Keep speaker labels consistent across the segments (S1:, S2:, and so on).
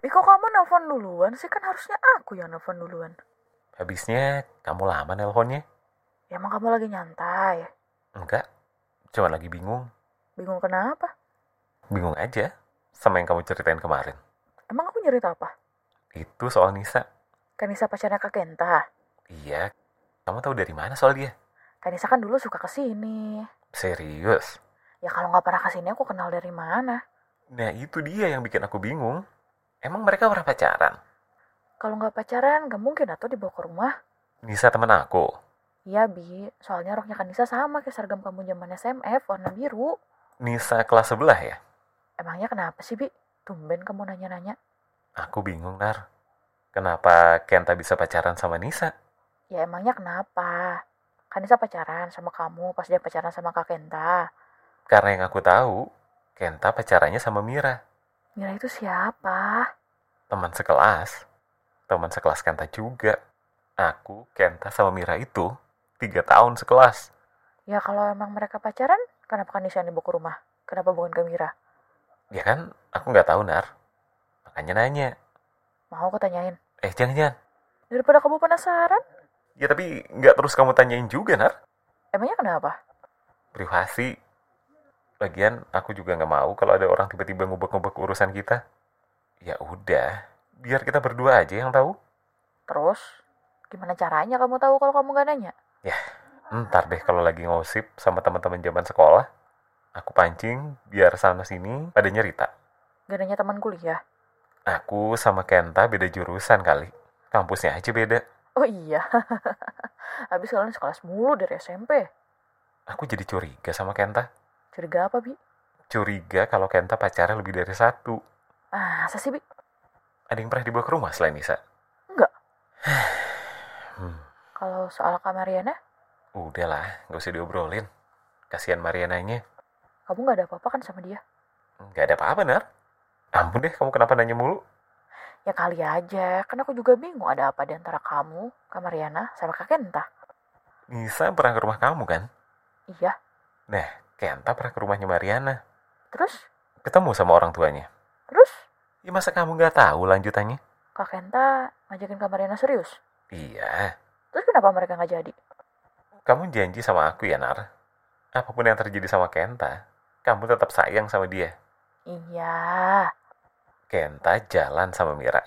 S1: Eh, nelpon duluan sih? Kan harusnya aku yang nelpon duluan.
S2: Habisnya kamu lama nelponnya?
S1: Ya emang kamu lagi nyantai.
S2: Enggak, cuma lagi bingung.
S1: Bingung kenapa?
S2: Bingung aja sama yang kamu ceritain kemarin.
S1: Emang aku nyerita apa?
S2: Itu soal Nisa.
S1: Kanisa pacarnya Kak Kenta.
S2: Iya, kamu tahu dari mana soal dia?
S1: Kanisa kan dulu suka kesini.
S2: Serius?
S1: Ya kalau nggak pernah kesini aku kenal dari mana?
S2: Nah itu dia yang bikin aku bingung. Emang mereka pernah pacaran?
S1: Kalau nggak pacaran nggak mungkin atau dibawa ke rumah.
S2: Nisa teman aku.
S1: Iya Bi, soalnya roknya Kanisa sama kayak seragam kamu zaman SMF warna biru.
S2: Nisa kelas sebelah ya?
S1: Emangnya kenapa sih Bi? Tumben kamu nanya-nanya.
S2: Aku bingung, Nar. Kenapa Kenta bisa pacaran sama Nisa?
S1: Ya emangnya kenapa? Kanisa pacaran sama kamu pas dia pacaran sama Kak Kenta.
S2: Karena yang aku tahu, Kenta pacarannya sama Mira.
S1: Mira itu siapa?
S2: Teman sekelas. Teman sekelas Kenta juga. Aku, Kenta, sama Mira itu tiga tahun sekelas.
S1: Ya kalau emang mereka pacaran, kenapa Kanisa yang dibawa ke rumah? Kenapa bukan ke Mira?
S2: Ya kan, aku nggak tahu, Nar. Makanya nanya.
S1: Mau aku tanyain.
S2: Eh, jangan-jangan.
S1: Daripada kamu penasaran,
S2: Ya tapi nggak terus kamu tanyain juga, Nar.
S1: emangnya kenapa?
S2: Privasi. Lagian aku juga nggak mau kalau ada orang tiba-tiba ngubek-ngubek urusan kita. Ya udah, biar kita berdua aja yang tahu.
S1: Terus, gimana caranya kamu tahu kalau kamu gak nanya?
S2: Ntar deh kalau lagi ngosip sama teman-teman zaman sekolah, aku pancing biar sana sini pada nyerita.
S1: Gak nanya teman kuliah.
S2: Aku sama Kenta beda jurusan kali. Kampusnya aja beda.
S1: Oh iya. Habis kalian sekelas mulu dari SMP.
S2: Aku jadi curiga sama Kenta.
S1: Curiga apa, Bi?
S2: Curiga kalau Kenta pacarnya lebih dari satu.
S1: Masa sih, Bi?
S2: Ada yang pernah dibawa ke rumah selain Nisa?
S1: Enggak.
S2: Hmm,
S1: Kalau soal Kak Mariana,
S2: udahlah, gak usah diobrolin. Kasihan Mariananya.
S1: kamu gak ada apa-apa kan sama dia?
S2: Gak ada apa-apa, Nar. Ampun deh, kamu kenapa nanya mulu?
S1: Ya kali aja, kan aku juga bingung ada apa di antara kamu, Kak Mariana, sama Kak Kenta.
S2: Nisa pernah ke rumah kamu kan?
S1: Iya,
S2: Kenta pernah ke rumahnya Mariana.
S1: terus?
S2: Ketemu sama orang tuanya.
S1: Terus?
S2: Ya masa kamu nggak tahu lanjutannya?
S1: Kak Kenta ngajakin Kak Mariana serius.
S2: Iya,
S1: Terus kenapa mereka gak jadi?
S2: kamu janji sama aku ya, Nar. Apapun yang terjadi sama Kenta, kamu tetap sayang sama dia.
S1: Iya,
S2: Kenta jalan sama Mira.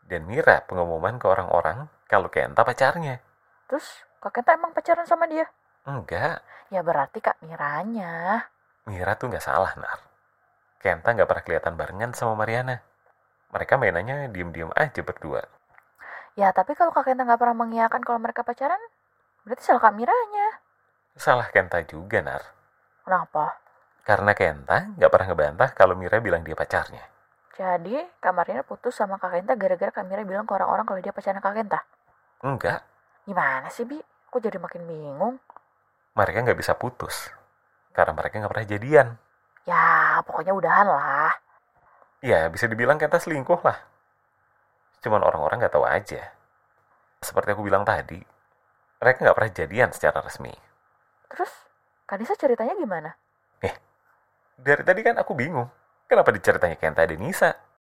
S2: Dan Mira pengumuman ke orang-orang kalau Kenta pacarnya.
S1: terus Kak Kenta emang pacaran sama dia?
S2: Enggak,
S1: Ya berarti Kak Miranya.
S2: Mira tuh nggak salah, Nar. Kenta nggak pernah kelihatan barengan sama Mariana. Mereka mainannya diem-diem aja berdua.
S1: Ya tapi kalau Kak Kenta nggak pernah mengiyakan kalau mereka pacaran, berarti salah Kak Miranya.
S2: Salah Kenta juga, Nar.
S1: Kenapa?
S2: Karena Kenta nggak pernah ngebantah kalau Mira bilang dia pacarnya.
S1: Jadi Kak Mariana putus sama Kak Kenta gara-gara Kak Mira bilang ke orang-orang kalau dia pacaran Kak Kenta.
S2: Enggak,
S1: Gimana sih Bi? Kok jadi makin bingung?
S2: mereka nggak bisa putus karena mereka nggak pernah jadian.
S1: Ya pokoknya udahan lah.
S2: Ya bisa dibilang Kenta selingkuh lah. Cuman orang-orang nggak tahu aja. Seperti aku bilang tadi, mereka nggak pernah jadian secara resmi.
S1: Terus Kak Nisa ceritanya gimana?
S2: Dari tadi kan aku bingung, kenapa diceritanya Kenta ada Nisa?